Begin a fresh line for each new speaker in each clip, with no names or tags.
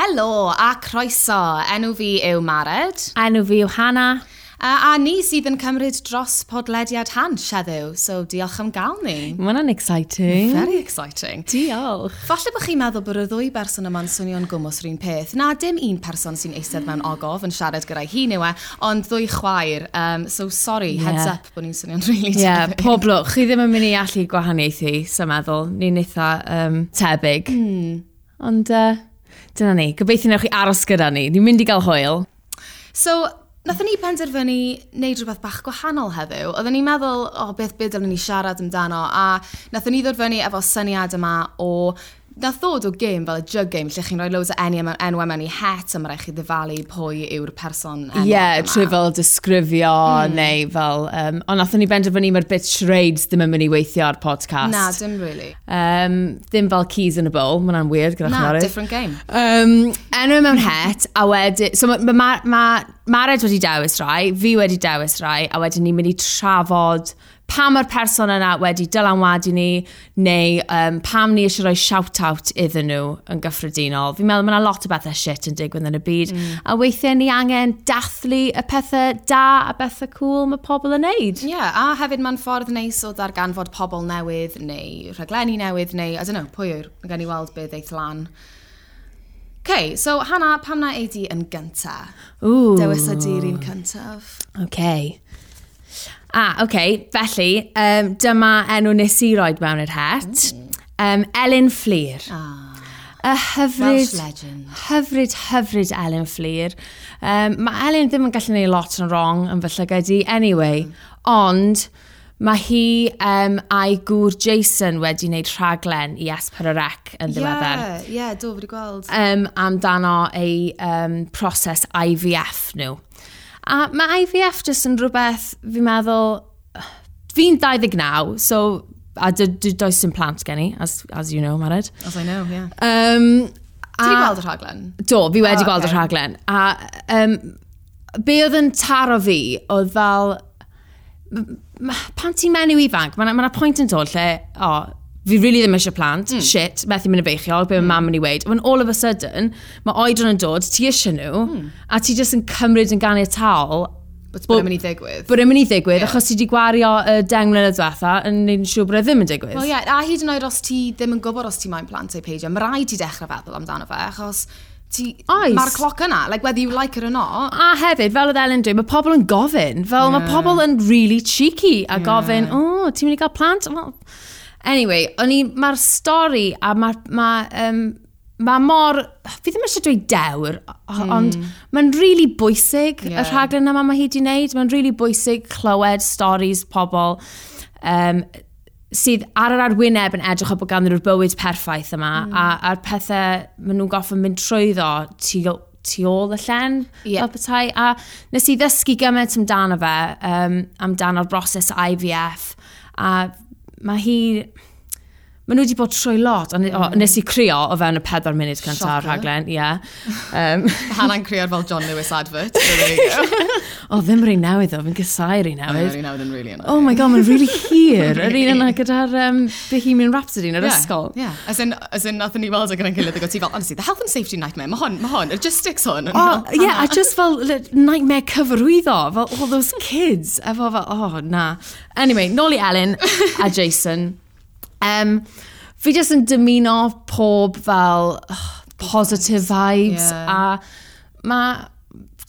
Helo a croeso, enw fi yw Mared.
Enw fi yw Hana.
A, a ni sydd yn cymryd dros podlediad hans heddiw, so diolch am gael ni.
Mae hwnna'n exciting.
Very exciting.
Diolch.
Falle bod chi'n meddwl bod y ddwy berson yma'n swnio'n gwmws yr un peth. Na, dim un person sy'n eistedd mewn ogof yn siarad gyda'i hun yw e, ond ddwy chwaer. Um, so sorry, yeah. heads
Ie.
up bod ni'n swnio'n really
Ie, yeah,
tebyg.
pob lwc. Chi ddim yn mynd i allu gwahaniaethu, sy'n meddwl. Ni'n eitha um, tebyg. Mm. Ond uh, dyna ni. Gobeithio newch chi aros gyda ni. Ni'n mynd i gael hwyl.
So, nathon ni penderfynu wneud rhywbeth bach gwahanol heddiw. Oedden ni'n meddwl, o, oh, beth byd ni siarad amdano, a nathon ni ddod fyny efo syniad yma o Nath ddod o gêm fel y jug game lle chi'n rhoi loads o enw mewn enwau mewn i het a mae rhaid chi ddifalu pwy yw'r person
Ie,
enwog
yeah,
yma.
trwy fel disgrifio mm. neu fel... Um, ond nathon ni benderfynu mae'r bit charades ddim yn mynd i weithio ar podcast.
Na, dim really.
um, ddim fel keys in a bowl. Mae hwnna'n weird gyda
Na,
chymaru.
different game.
Um, enw mewn het, a wedyn... So mae ma, ma, Mared wedi dewis rai, fi wedi dewis rai, a wedyn ni'n mynd i trafod pa mae'r person yna wedi dylanwadu ni, neu um, pam ni eisiau rhoi shout-out iddyn nhw yn gyffredinol. Fi'n meddwl mae yna lot o bethau shit yn digwydd yn y byd, a weithiau ni angen dathlu y pethau da a bethau cool mae pobl yn neud.
Ie, yeah, a hefyd mae'n ffordd neis o ddarganfod pobl newydd neu rhaglenni newydd neu, I don't know, pwy yw'r, mae gen i weld beth eith lan. Okay, so Hannah, pam na ei di yn gyntaf?
Ooh.
Dewis y dir un cyntaf.
OK. Ah, OK. Felly, um, dyma enw nes i roed mewn yr het. Um, Elin Fflir.
Mm. Ah,
Y
Welsh
hyfryd,
legend.
hyfryd, hyfryd Elin Fflir. Um, mae Elin ddim yn gallu gwneud lot yn wrong yn fy llygad i, anyway.
Mm.
Ond, mae hi um, a'i gŵr Jason wedi wneud rhaglen i S4C yn ddiweddar
Ie, ie, do, wedi gweld.
um, amdano eu um, proses IVF nhw. A mae IVF jyst yn rhywbeth, fi'n meddwl, fi'n 29, so, a dy- dy- does dim plant gen i, as, as you know, Mared.
As I know, ie. Yeah.
Um,
Ti wedi gweld y rhaglen?
Do, fi wedi
O,
gweld
ocê.
y rhaglen. A um, be oedd yn taro fi oedd fel... m- m- Pan ti'n menyw ifanc, mae yna ma 'na pwynt yn dod lle, o, oh, fi really ddim eisiau plant, mm. shit, methu mynd y beichio, be mae mam yn ei weid. Ond all of a sudden, mae oedron yn dod, ti eisiau nhw, a ti jyst yn cymryd yn ganiataol
But bod yn mynd i ddigwydd.
bod e'n mynd i ddigwydd, yeah. achos ti wedi gwario y deng mlynedd diwetha yn neud yn siŵr bod e ddim yn digwydd.
Wel ie, a hyd yn oed os ti ddim yn gwybod os ti mae'n plant ei peidio, mae rhaid ti dechrau feddwl amdano fe, achos ti...
Oes.
Mae'r cloc yna, like whether you like it or not.
A hefyd, fel oedd Ellen dweud, mae pobl yn gofyn. Fel yeah. mae pobl yn really cheeky a yeah. gofyn, o, oh, ti'n mynd i gael plant? Well, anyway, o'n i, mae'r stori a mae... Ma, um, Mae mor, fi ddim eisiau dweud dewr, o- ond mae'n really bwysig,
Ie.
y rhaglen yma mae hi wedi wneud, mae'n really bwysig clywed storis pobl um, sydd ar yr arwyneb yn edrych o bod ganddyn nhw'r bywyd perffaith yma,
Hmm.
a a'r pethau maen nhw'n goffin mynd trwyddo tu, tu ôl y llen,
Ie.
fel petai. A nes i ddysgu gymaint amdano fe, um, amdano'r broses IVF, a mae hi... Maen nhw wedi bod trwy lot, ond o, nes i crio o fewn y pedwar munud cyntaf o'r
Hmm. Shocker.
rhaglen, ie. Um,
Hannah'n creo'r fel John Lewis advert. So there you go.
o, ddim rhaid newydd o, fi'n gysau rhaid newydd.
Mary nawdd yn really yna.
Oh my god, mae'n really hir. Yr un yna gyda'r um, Bohemian Rhapsody yn yr ysgol.
Yeah. As in, as in nath ni weld ag yn gilydd ag o ti fel, honestly, the health and safety nightmare, mae hon, mae hon, it just sticks hon.
Oh, yeah, I just fel li- nightmare cyfarwyddo, fel all those kids. Efo fel, oh, na. Anyway, nôl i Elin a Jason. Um, fi jyst yn dymuno pob fel oh, positive vibes
Yeah.
yeah. a mae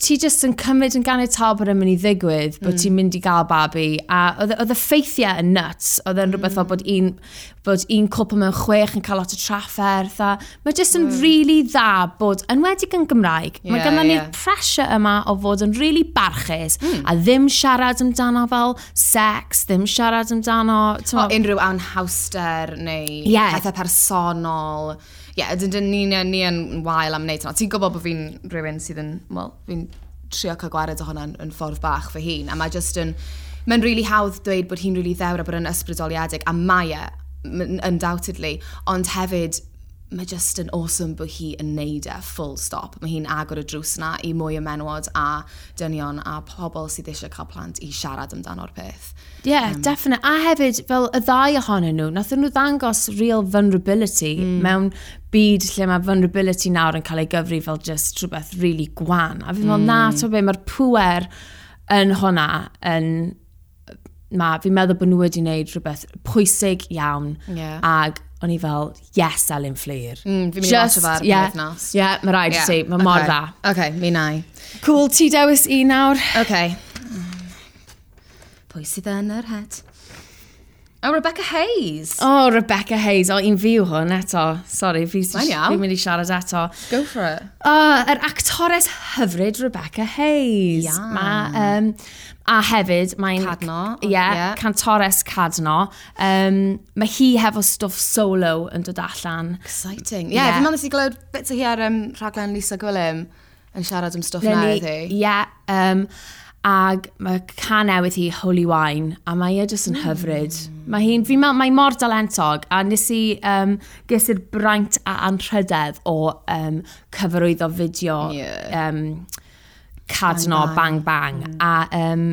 ti jyst yn cymryd yn ganiataol bod yn mynd i ddigwydd, bod ti'n mynd i gael babi, a oedd e, oedd y ffeithiau yn nuts, oedd e'n rhywbeth fel bod un, bod un cwpl mewn chwech yn cael lot o trafferth, a mae jyst yn really dda bod, enwedig yn Gymraeg, yeah,
Ie,
mae gynna ni'r
ie. Hmm.
pressure yma o fod yn really barchus, a ddim siarad amdano fel sex, ddim siarad amdano,
O,
t'mo,
unrhyw anhawster neu
Ie.
pethau personol. Ie, yeah, dyn ni, ni, ni yn wael am wneud hwnna. Ti'n gwybod bod fi'n rhywun sydd yn, wel, fi'n trio cael gwared o hwnna yn, yn ffordd bach fy hun. A mae just yn, mae'n rili really hawdd dweud bod hi'n rili really ddewr a bod yn ysbrydoliedig. A mae e, m- undoubtedly. Ond hefyd, mae just yn awesome bod hi yn neud e full stop. Mae hi'n agor y drws na i mwy o menwod a dynion a pobl sydd eisiau cael plant i siarad amdano'r peth.
Ie, yeah, um, definite. A hefyd, fel y ddau ohonyn nhw, nathon nhw ddangos real vulnerability mm. mewn byd lle mae vulnerability nawr yn cael ei gyfri fel just rhywbeth really gwan. A fi'n meddwl,
Mm.
na, to be, mae'r pwer yn hwnna yn... Ma, fi'n meddwl bod nhw wedi wneud rhywbeth pwysig iawn.
Ie.
Ag o'n i fel, yes, Elin Fflir.
Mm, fi'n mynd i watch o fe ar y penwythnos.
Ie, yeah, mae rhaid i ti, mae mor dda.
OK, mi na i.
Cool, ti dewis i nawr.
OK. Pwy sydd yn yr het? O, Oh, Rebecca Hayes.
O, oh, Rebecca Hayes, o, un fiw hwn eto. Sorry, fi
Mae'n iawn.
fi'n mynd i siarad eto.
Go for it.
O, oh, yr actores hyfryd Rebecca Hayes.
Ia.
Ma, um, a hefyd, mae'n...
Cadno,
Ie,
ie.
yeah, cantores cadno. Um, mae hi hefo stwff solo yn dod allan.
Exciting. Ie,
Ie.
yeah, fi'n meddwl nes i glywed bit o hi ar um, rhaglen Lisa Gwilym yn siarad am stwff na iddi.
Ie, yeah, um, ag mae can newydd hi Holy Wine, a mae e jyst yn hyfryd. Mae hi'n, fi'n meddwl, mae mor dalentog, a nes i, um, ges i'r braint a anrhydedd o um, cyfarwyddo fideo
Ie.
um, cadno bang bang,
Mm.
a um,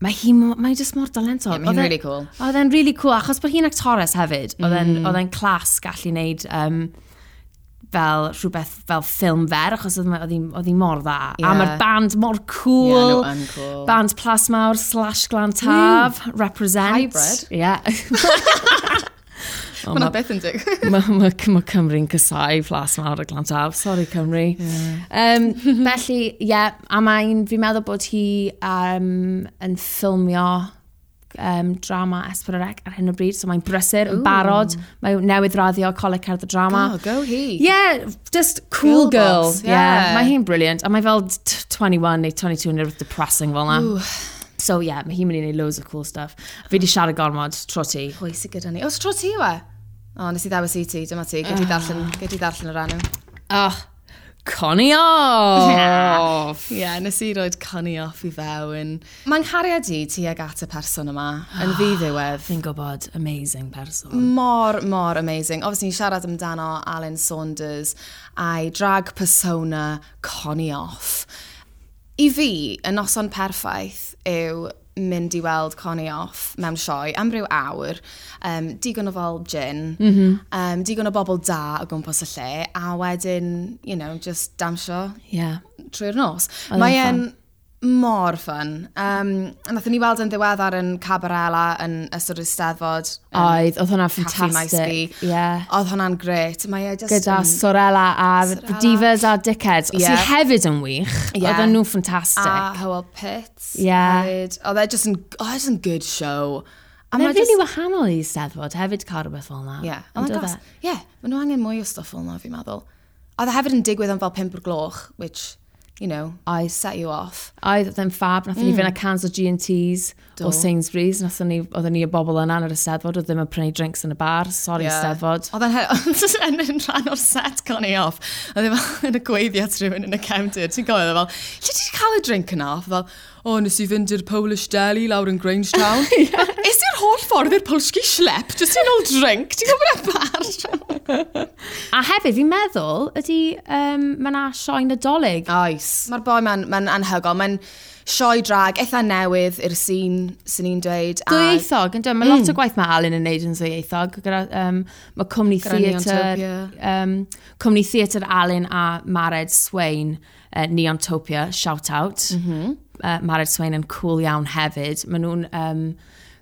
Mae hi, mo- mae hi just mor dalentog.
Ie, ma' hi'n
Oedd e-
really cool.
Oedd e'n really cool, achos bod hi'n actores hefyd. Oedd e'n mm. clas gallu neud um, fel rhywbeth fel ffilm fer, achos oedd ma- oedd hi- oedd hi mor dda.
Ie.
A mae'r band mor
Ie,
cool.
nhw yn cool.
Band Plasmawr slash Glantaf, represent.
Mm. Hybrid.
Yeah.
Ma' hwnna beth yn dig.
Mae ma, ma Cymru'n cysau plas mawr y glantaf. Sorry Cymru. Um, felly, ie, yeah, a mae'n, fi'n meddwl bod hi um, yn ffilmio um, drama Esperorec ar hyn o bryd, so mae'n brysur, yn barod, mae newydd raddio coleg cerdd y drama.
Oh, go hi.
Yeah, just cool
Girl
girl.
boss,
yeah.
yeah.
Mae hi'n brilliant. A mae fel t- 21 neu 22 neu rhywbeth depressing fel na. So yeah, mae hi'n mynd i wneud loads of cool stuff. Fi di siarad gormod tro ti.
Pwy sydd gyda ni? O, tro ti yw e? O, nes i ddewis i ti, dyma ti. Gyd i ddarllen, gyd i ddarllen yr enw.
Oh,
Ah,
Connie off!
Ie, yeah, nes i roed coni off i fewn. Mae'n nghariad i tuag at y person yma, yn fi ddiwedd.
Fi'n gwybod, amazing person.
mor, mor amazing. Obviously, ni'n siarad amdano Alan Saunders a'i drag persona Connie Off. I fi, y noson perffaith yw mynd i weld Connie Off mewn sioe am ryw awr, um, digon o fel gin, mm -hmm. um, digon o bobl da o gwmpas y lle, a wedyn, you know, just damsio
Yeah.
trwy'r nos.
Oedd
Mae
o'n
e'n mor ffyn. Um, a nath ni weld yn ddiweddar yn Cabarela yn ystod y steddfod. yn
Oedd, oedd hwnna
Caffi Maes
ffantastig.
Fi.
Yeah.
Oedd hwnna'n gret. Mae e just...
Gyda
yn-
Sorella a Divas a Dickheads. Os
Ie.
i hefyd yn wych,
Ie.
oedd nhw'n ffantastig.
A Howell Pitts.
Ie.
hefyd. Oedd e just yn... Oedd e'n good show. A
Mae'n
mae
rili
just...
wahanol i Steddfod, hefyd cael rhywbeth fel na.
Ie. Oh
Yn
Oedd e'n
doedd
gas.
e?
Ie. Mae nhw angen mwy o stuff fel yna, fi'n meddwl. Oedd e hefyd yn digwydd am fel pimp o'r gloch, which, you know, I set you off.
Oedd oedd yn ffab, nath
Mm.
ni fynd â cans o G&T's o Sainsbury's, nath ni, oedden ni y bobl yna yn yr Steddfod, oedd ddim yn prynu drinks yn y bar, sorry
Ie.
Steddfod.
Oedd e'n he- oedd e'n yn rhan o'r set Connie off. Oedd e'n fel yn y gweiddiad rhywun yn y cefndir. Ti'n gofio fel, lle ti 'di cael y drink yna? Oedd e fel, o, nes i fynd i'r Polish Deli lawr yn Grangetown. Fel, Is i'r holl ffordd i'r Polski Schlep? Just i'n ôl drink? Ti'n gofio bar?
A hefyd, fi'n meddwl, ydy, um, mae yna sioen nadolig
Ah. Oes. Mae'r boi ma'n ma anhygol. Mae'n sioi drag, eitha newydd i'r sîn, sy'n ni'n dweud. a-
Dwyieithog, yn dweud, mae lot o gwaith mae Alan yn neud yn ddwyieithog. Gyda, um, mae cwmni
Gyda
theatr,
Neontopia.
um, cwmni theatr Alan a Mared Swain, uh, Neontopia, shout out. Mm -hmm. uh, Mared Swain yn cool iawn hefyd. Maen nhw'n um,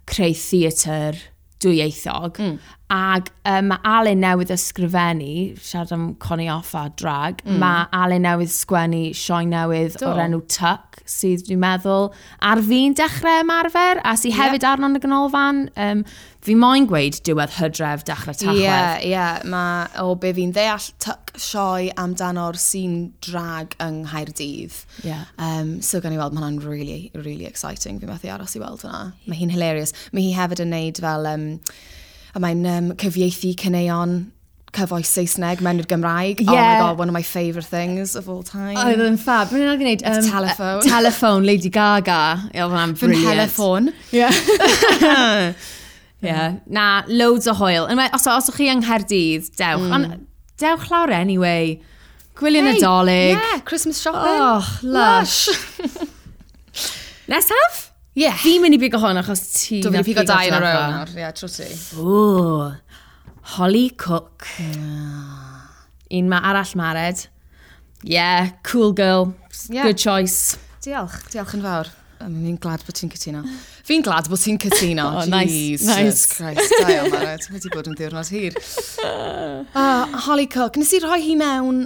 creu theatr dwyieithog. Mm. Ac um, mae Alan newydd ysgrifennu, siarad am Connie Off a drag, mm. mae Alan newydd sgwennu sioe newydd
Do.
o'r enw Tuck, sydd dwi'n meddwl ar fi'n dechrau ymarfer, a sydd hefyd arno yn y ganolfan. Um, fi moyn gweud diwedd hydref dechrau tachwedd.
Ie, ie, mae o be fi'n ddeall tuc sioi amdano'r sîn drag yng Nghaerdydd.
Ie.
Um, so gan i weld, mae hwnna'n really, really exciting. Fi'n methu aros i weld hwnna. Mae hi'n hilarious. Mae hi hefyd yn neud fel... Um, a mae'n um, cyfieithu cyneuon cyfoes Saesneg mewn i'r Gymraeg. Oh my
Ie.
god, one of my favourite things of all time.
Oedd yn ffab. Mae'n rhaid i wneud... Um,
Telephone.
uh, Mm. telephone, Lady Gaga. Ie, oedd hwnna'n
Fy
brilliant.
nheleffon.
Yeah. Na, loads o hwyl. Anyway, os, os o'ch chi yng Nghaerdydd, dewch. Mm. Ond dewch lawr anyway. Gwylio hey, Nadolig.
Yeah, Christmas shopping.
Oh, lush. Nesaf?
Yeah.
Fi'n mynd i bigo hwn achos ti.
Dwi'n mynd i
nath
pigo
bigo
dau yn
tro
y row
dwetha.
nawr. Ie, trwy ti.
Ww, Holly Cook. Un ma arall mared. Yeah, cool girl.
Yeah.
Good choice.
Diolch, diolch yn fawr. Um, Fi'n glad bod ti'n cytuno. Fi'n glad bod ti'n cytuno.
Oh, nice,
Jesus
nice.
Christ, da iawn, Mara. Ti'n wedi bod yn ddiwrnod hir. Uh, Holly Cook, nes i rhoi hi mewn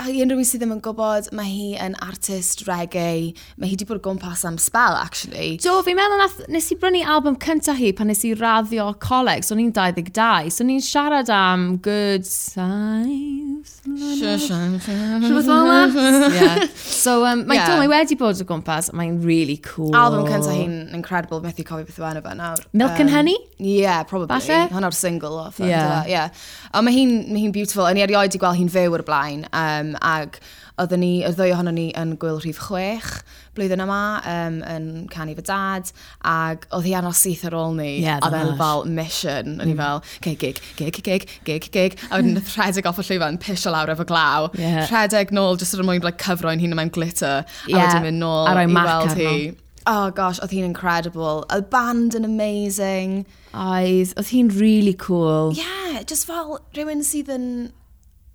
A i unrhyw un sydd ddim yn gwybod, mae hi yn artist reggae. Mae hi wedi bod o gwmpas am spel, actually.
Do, fi'n meddwl nath, nes i brynu album cyntaf hi pan nes i raddio coleg, so ni'n 22, so ni'n siarad am good times. Rhywbeth fel yna? yeah. So, um, mae
Yeah.
yeah. mae wedi bod o gwmpas, a mae'n really cool.
Album cyntaf Um, hi'n incredible, methu cofio beth yw enw fe nawr.
Milk and Honey?
Yeah, probably.
Falle?
Hwna'r single off.
Ie.
Yeah. yeah. A mae hi'n ma hi beautiful. A ni erioed i gweld hi'n fyw o'r blaen. Um, ag oedden ni, y ddwy ohonon ni yn gwyl rhif chwech blwyddyn yma um, yn canu fy dad. Ac oedd hi anos syth ar ôl ni.
Ie, Mm.
oedd e'n
dyna'r.
fel mission. O'n i fel, okay, gig, gig, gig, gig, gig. A wedyn rhedeg off y llwyfan, pisio lawr efo glaw.
Ie.
Rhedeg nôl, jyst er mwyn like, cyfroen hi'n mewn glitter.
Ie.
A wedyn mynd nôl
A rhoi
i
marc
weld
arno.
hi. Oh gosh, oedd hi'n incredible. Y band yn amazing.
Oedd, oedd hi'n really cool.
Yeah, just fel rhywun sydd yn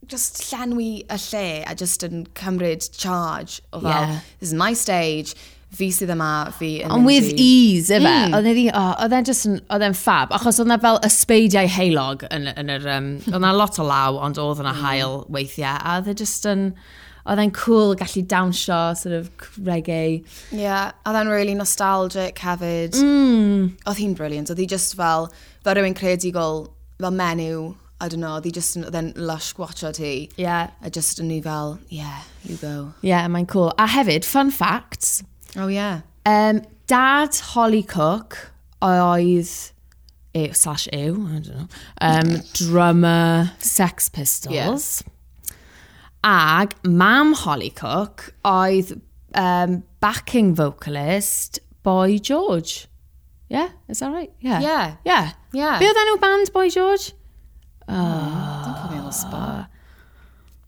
just llenwi y lle a just yn cymryd charge o fel,
Yeah.
this is my stage, fi sydd yma, fi yn
Ond with
i...
ease, efe. Mm. Oedd e di- o, oedd e'n just yn, oedd e'n fab. Achos oedd na fel ysbeidiau heilog yn, yn yr, um, oedd na lot o law, ond oedd yna hael weithiau. A oedd e just yn, oedd e'n cool gallu dawnsio, sort of reggae.
Yeah, a then really nostalgic hefyd. Mm. Oedd hi'n brilliant, oedd hi just fel, fel rhywun creadigol, fel menyw, I don't know, oedd hi just yn, oedd e'n lush gwatcho ti.
Yeah.
A just yn ni fel, yeah, you go.
Yeah, mae'n cool. A hefyd, fun fact,
Oh yeah.
um, dad Holly Cook oedd, ew, slash ew, I don't know, um, drummer Sex Pistols. Ag mam Holly Cook oedd um, backing vocalist Boy George. Yeah, is that right? Yeah.
Yeah.
Yeah.
Yeah. Oh.
Be oedd enw band Boy George?
Don't put me on the spot.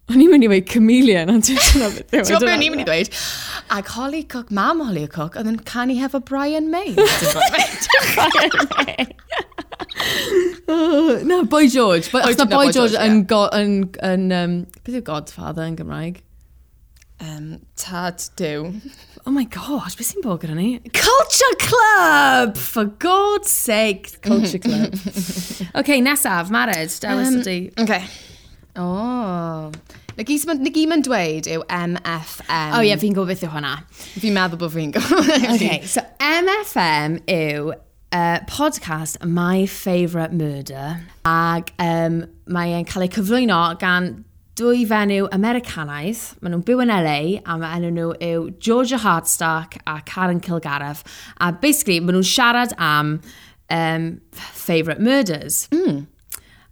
O'n i'n mynd i weid chameleon, ond dwi'n siŵr beth yw.
Ti'n gwybod beth ni'n mynd i ddweud? Ac Holly Cook, mam Holly Cook, oedd yn canu hefo Brian May.
Na, Boy George. Boy,
Oes
Oes
na
na Oh, Boy
Boy
George
George,
yn... go- yn- yn, um, Beth yw Godfather yn Gymraeg?
um, tad dew.
Oh my gosh, beth sy'n bod gyda ni? Culture Club! For God's sake, Culture Club. OK, nesaf, Mared, dewis um, ydi.
Okay. O. Na gyd ma'n na gyd ma'n dweud yw MFM.
O oh, ie, yeah, fi'n gwybod beth yw hwnna.
Fi'n meddwl bod fi'n gwybod.
OK, so MFM yw uh, podcast My Favourite Murder ac um, mae e'n cael ei cyflwyno gan dwy fenyw Americanaidd. Maen nhw'n byw yn LA a mae enw nhw yw Georgia Hardstack a Karen Kilgariff. A basically, maen nhw'n siarad am um, favourite murders.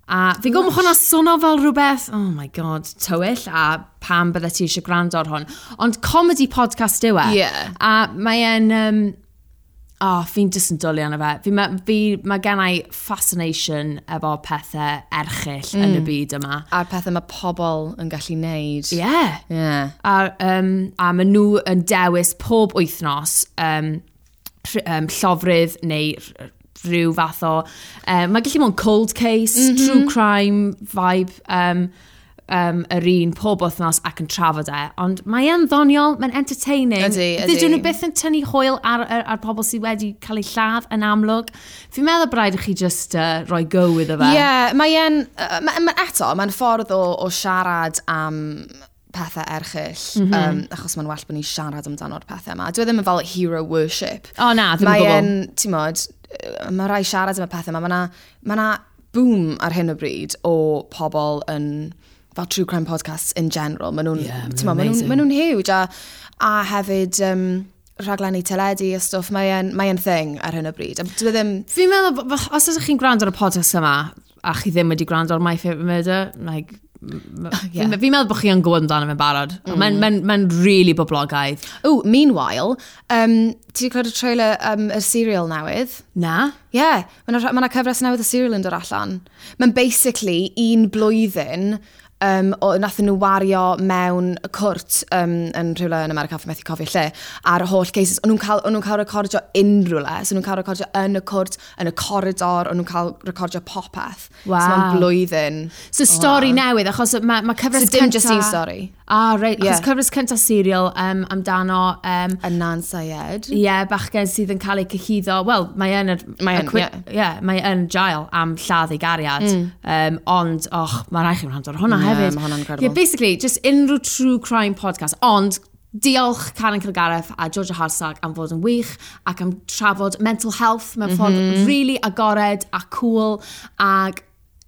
A fi'n gwybod bod hwnna swnio fel rhywbeth, oh my god, tywyll, a pam bydde ti eisiau gwrando ar hwn. Ond comedy podcast yw e.
Ie.
A mae e'n... Um, oh, fi'n just yn dwlu arno fe. Fi, ma, fi, mae gen i fascination efo pethau erchill mm. yn y byd yma.
A'r pethau mae pobl yn gallu neud.
Ie. Yeah.
Yeah.
A, um, a maen nhw yn dewis pob wythnos um, rh- um, llofrydd neu rh- rhyw fath o... Um, mae gallu bod yn cold case,
Mhm.
mm -hmm. true crime vibe, um, um, yr un pob wythnos ac yn trafod e. Ond mae e'n ddoniol, mae'n entertaining.
Ydi, ydi.
Dydyn nhw byth yn tynnu hwyl ar, ar, ar pobl sydd wedi cael eu lladd yn amlwg. Fi'n meddwl braidd i chi just uh, roi go iddo fe.
Ie, yeah, mae e'n... yy, ma- ma- Eto, mae'n ffordd o, o siarad am pethau erchill, um, achos mae'n well bod ni'n siarad amdano'r pethau yma. Dwi ddim yn fel hero worship.
O na, ddim yn
Mae
gwbl.
e'n, ti'n modd, yy, mae rai siarad am y pethau yma, mae yna ma 'na boom ar hyn o bryd o pobl yn fel true crime podcasts in general. Maen nhw'n
Yeah, ma'
ti'n modd, ma'
amazing.
nhw'n- ma' nhw'n huge a, a hefyd um, rhaglenni teledu a stwff, mae e'n mae e'n thing ar hyn o bryd. A dwi ddim,
Fi'n meddwl, bo- bo- os ydych chi'n gwrando ar y podcast yma, a chi ddim wedi gwrando ar My Favourite Murder, like,
Ie.
Fi'n fi'n meddwl bod chi yn gwybod amdano fe'n barod. Mm. Mae'n ma ma really boblogaidd.
O, meanwhile, um, ti wedi clywed y trailer um, y serial newydd?
Na?
Ie, yeah, mae yna ma cyfres newydd y serial yn dod allan. Mae'n basically un blwyddyn um, o nathyn nhw wario mewn y cwrt um, yn rhywle yn America, fy methu cofio lle, ar y holl cases. O'n nhw'n cael, o'n nhw'n cael recordio unrhyw le, so o'n nhw'n cael recordio yn y cwrt, yn y coridor, o'n nhw'n cael recordio popeth. So
Wow.
mae'n blwyddyn.
So stori newydd, achos mae ma cyfres
So dim just un stori.
Ah, right. Achos
Ie.
cyfres cynta serial um, amdano... Um,
Y Nan Syed.
Ie, yeah, bachgen sydd yn cael ei cyhuddo, wel, mae yn, yr,
Mae
y
yn,
cwi-
ie. Mm.
ie, mae yn jail am lladd ei gariad, um, ond, och, mae rhaid chi'n rhan o'r hwnna
Ie,
hefyd.
ma' hwnna'n incredible.
Yeah, basically, just unrhyw true crime podcast, ond diolch Karen Kilgareth a Georgia Harsag am fod yn wych ac am trafod mental health
Mhm.
mewn ffordd really agored a cool ac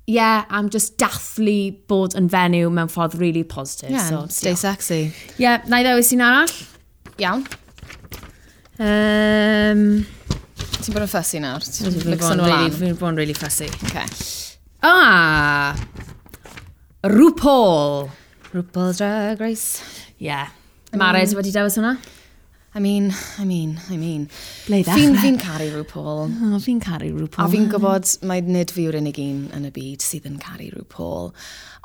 yeah, am just dathlu bod yn fenyw mewn ffordd really positive.
Yeah,
so,
stay
diolch.
sexy.
Ie, yeah, na i ddewis i'n arall.
Iawn.
Um,
Ti'n bod yn fussy nawr? Ti'n
Fi'n
mixo
bod yn
nhw
really,
lan?
fi'n bod yn really fussy.
Okay.
Ah! RuPaul!
RuPaul's Drag Race.
Yeah. Mared wedi dewis hwnna?
I mean, I mean, I mean.
Ble i
Fi'n
ddechrau?
fi caru RuPaul.
Oh, fi'n caru
A
RuPaul.
fi'n gwybod mae nid fi yw'r unig un yn y byd sydd yn caru RuPaul.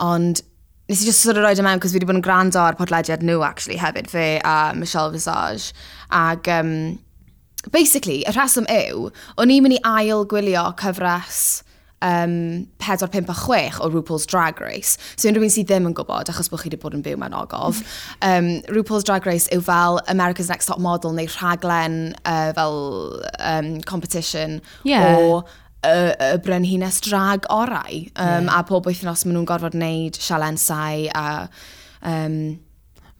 Ond nes i just sort of roed mewn, cos fi wedi bod yn gwrando ar podlediad nhw, actually, hefyd, fe a Michelle Visage. Ag, um, basically, y rheswm yw, o'n i'n mynd i ail gwylio cyfres um, 4, 5 a 6 o RuPaul's Drag Race. So unrhyw un sydd ddim yn gwybod, achos bod chi wedi bod yn byw mewn ogof, um, RuPaul's Drag Race yw fel America's Next Top Model neu rhaglen uh, fel um, competition
Ie.
o y, y brenhines drag orau. Um, A pob wythnos maen nhw'n gorfod wneud sialensau a um,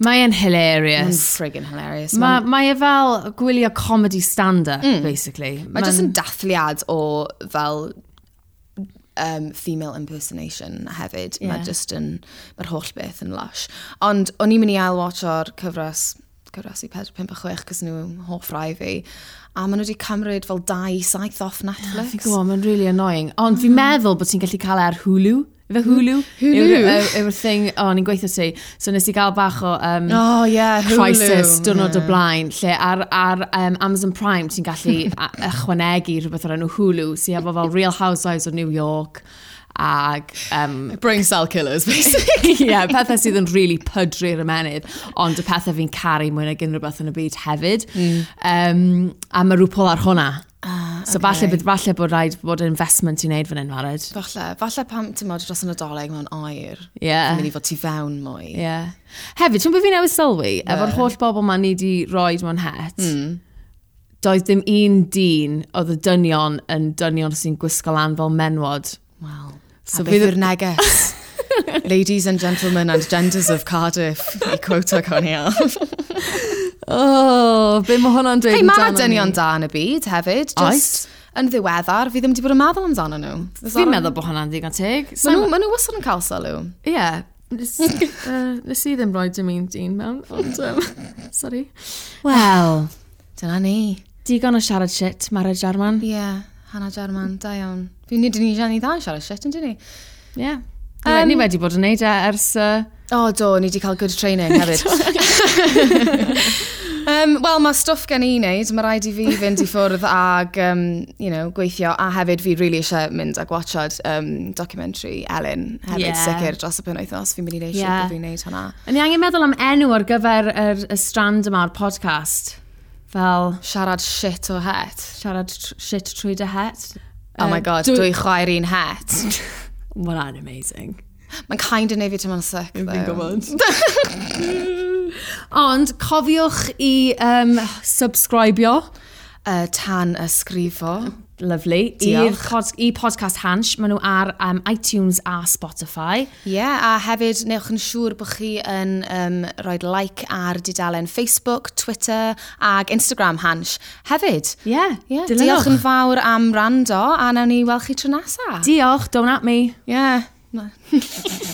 Mae'n
yes.
hilarious.
friggin hilarious. Ma,
Ma- Mae e fel gwylio comedy stand-up, basically.
Mae jyst yn dathliad o fel um, female impersonation hefyd. Yeah.
Ie.
Mae jyst yn, mae'r holl beth yn lush. Ond o'n i'n mynd i ail-watch o'r cyfres cyfresu 4, 5 a 6 cos nhw hoff rai fi a maen nhw wedi cymryd fel 2 saith off Netflix
Fi'n gwybod, mae'n really annoying. Ond fi'n meddwl bod ti'n gallu cael e ar Hulu. Ife Mm. Hulu?
Hulu?
Yw'r- y- Yw'r thing, o, ni'n gweithio ti. So nes i gael bach o... Um,
oh yeah Hulu
crisis diwrnod o blaen, lle ar, ar um, Amazon Prime ti'n gallu a- ychwanegu rhywbeth o'r enw Hulu, sy'n efo fel Real Housewives o New York, ag... Um,
brain cell killers basically
yeah, pethau sydd yn really pydru'r ymenydd, ond y pethau fi'n caru mwy nag unrhyw beth yn y byd hefyd.
Mm.
Um, a mae rhywbeth ar hwnna.
Ah,
So
okay.
falle, bydd falle bod rhaid bod yn investment i wneud fan hyn, Mared.
Falle, falle pam ti'n modd dros yn adolyg mewn oer.
Yeah.
Yn mynd i fod ti fewn mwy.
Ie. Yeah. Hefyd, ti'n bod fi'n newid sylwi, efo'r holl bobl ma'n ni di roed mewn het, mm. doedd ddim un dyn oedd y dynion yn dynion sy'n gwisgo lan fel menwod.
Wel,
So
so beth
fydd-
yw'r neges? Ladies and gentlemen and genders of Cardiff, i quota Coniel.
O, oh, be mae hwnna'n dweud
Hei, mae yna dynion da yn y byd hefyd.
Oes.
Just yn ddiweddar, fi ddim wedi bod yn meddwl amdano nhw.
Fi'n meddwl bod hwnna'n ddigon teg.
Mae nhw, ma nhw wastad yn cael sylw.
Ie. Yeah. Nes, uh, nes i ddim roi dim un dyn mewn, ond, um, sorry. Wel,
Dyna ni.
digon o siarad shit, Mara Jarman.
Ie, yeah, Hannah German, da iawn. Fi'n nid yn ni Jenny dda yn siarad shit, yn dyn ni?
Ie. Yeah. Um, ni wedi bod yn neud e ers... Uh,
O, do, ni wedi cael good training hefyd. um, Wel, mae stwff gen i wneud. Mae rhaid i fi fynd i ffwrdd ag, um, you know, gweithio. A hefyd, fi really eisiau mynd ac watchod um, documentary Ellen hefyd
Ie.
yeah. sicr dros y penwythnos. Fi'n mynd i wneud
Ie.
yeah. bod fi'n wneud hwnna.
Yn i angen meddwl am enw ar gyfer yr, y strand yma o'r podcast. Fel
Siarad shit o het.
siarad tr shit trwy dy het.
Oh my
Yym,
god,
dwy-
dwy chwaer un het.
Wel, an amazing.
Mae'n kind of neu fi tymlo'n sick, though.
Fi'n gwybod. Ond cofiwch i um, subscribio.
Uh, tan ysgrifo.
Lovely. I'r
Diolch.
pod i podcast Hansh. Maen nhw ar um, iTunes a Spotify.
Ie, yeah, a hefyd newch yn siŵr bod chi yn um, rhoi like ar didalen Facebook, Twitter ag Instagram hans hefyd.
Ie. Yeah,
Ie, diolch yn fawr am rando a nawn ni weld chi tro nesa.
Diolch, don't at me.
Ie. Yeah.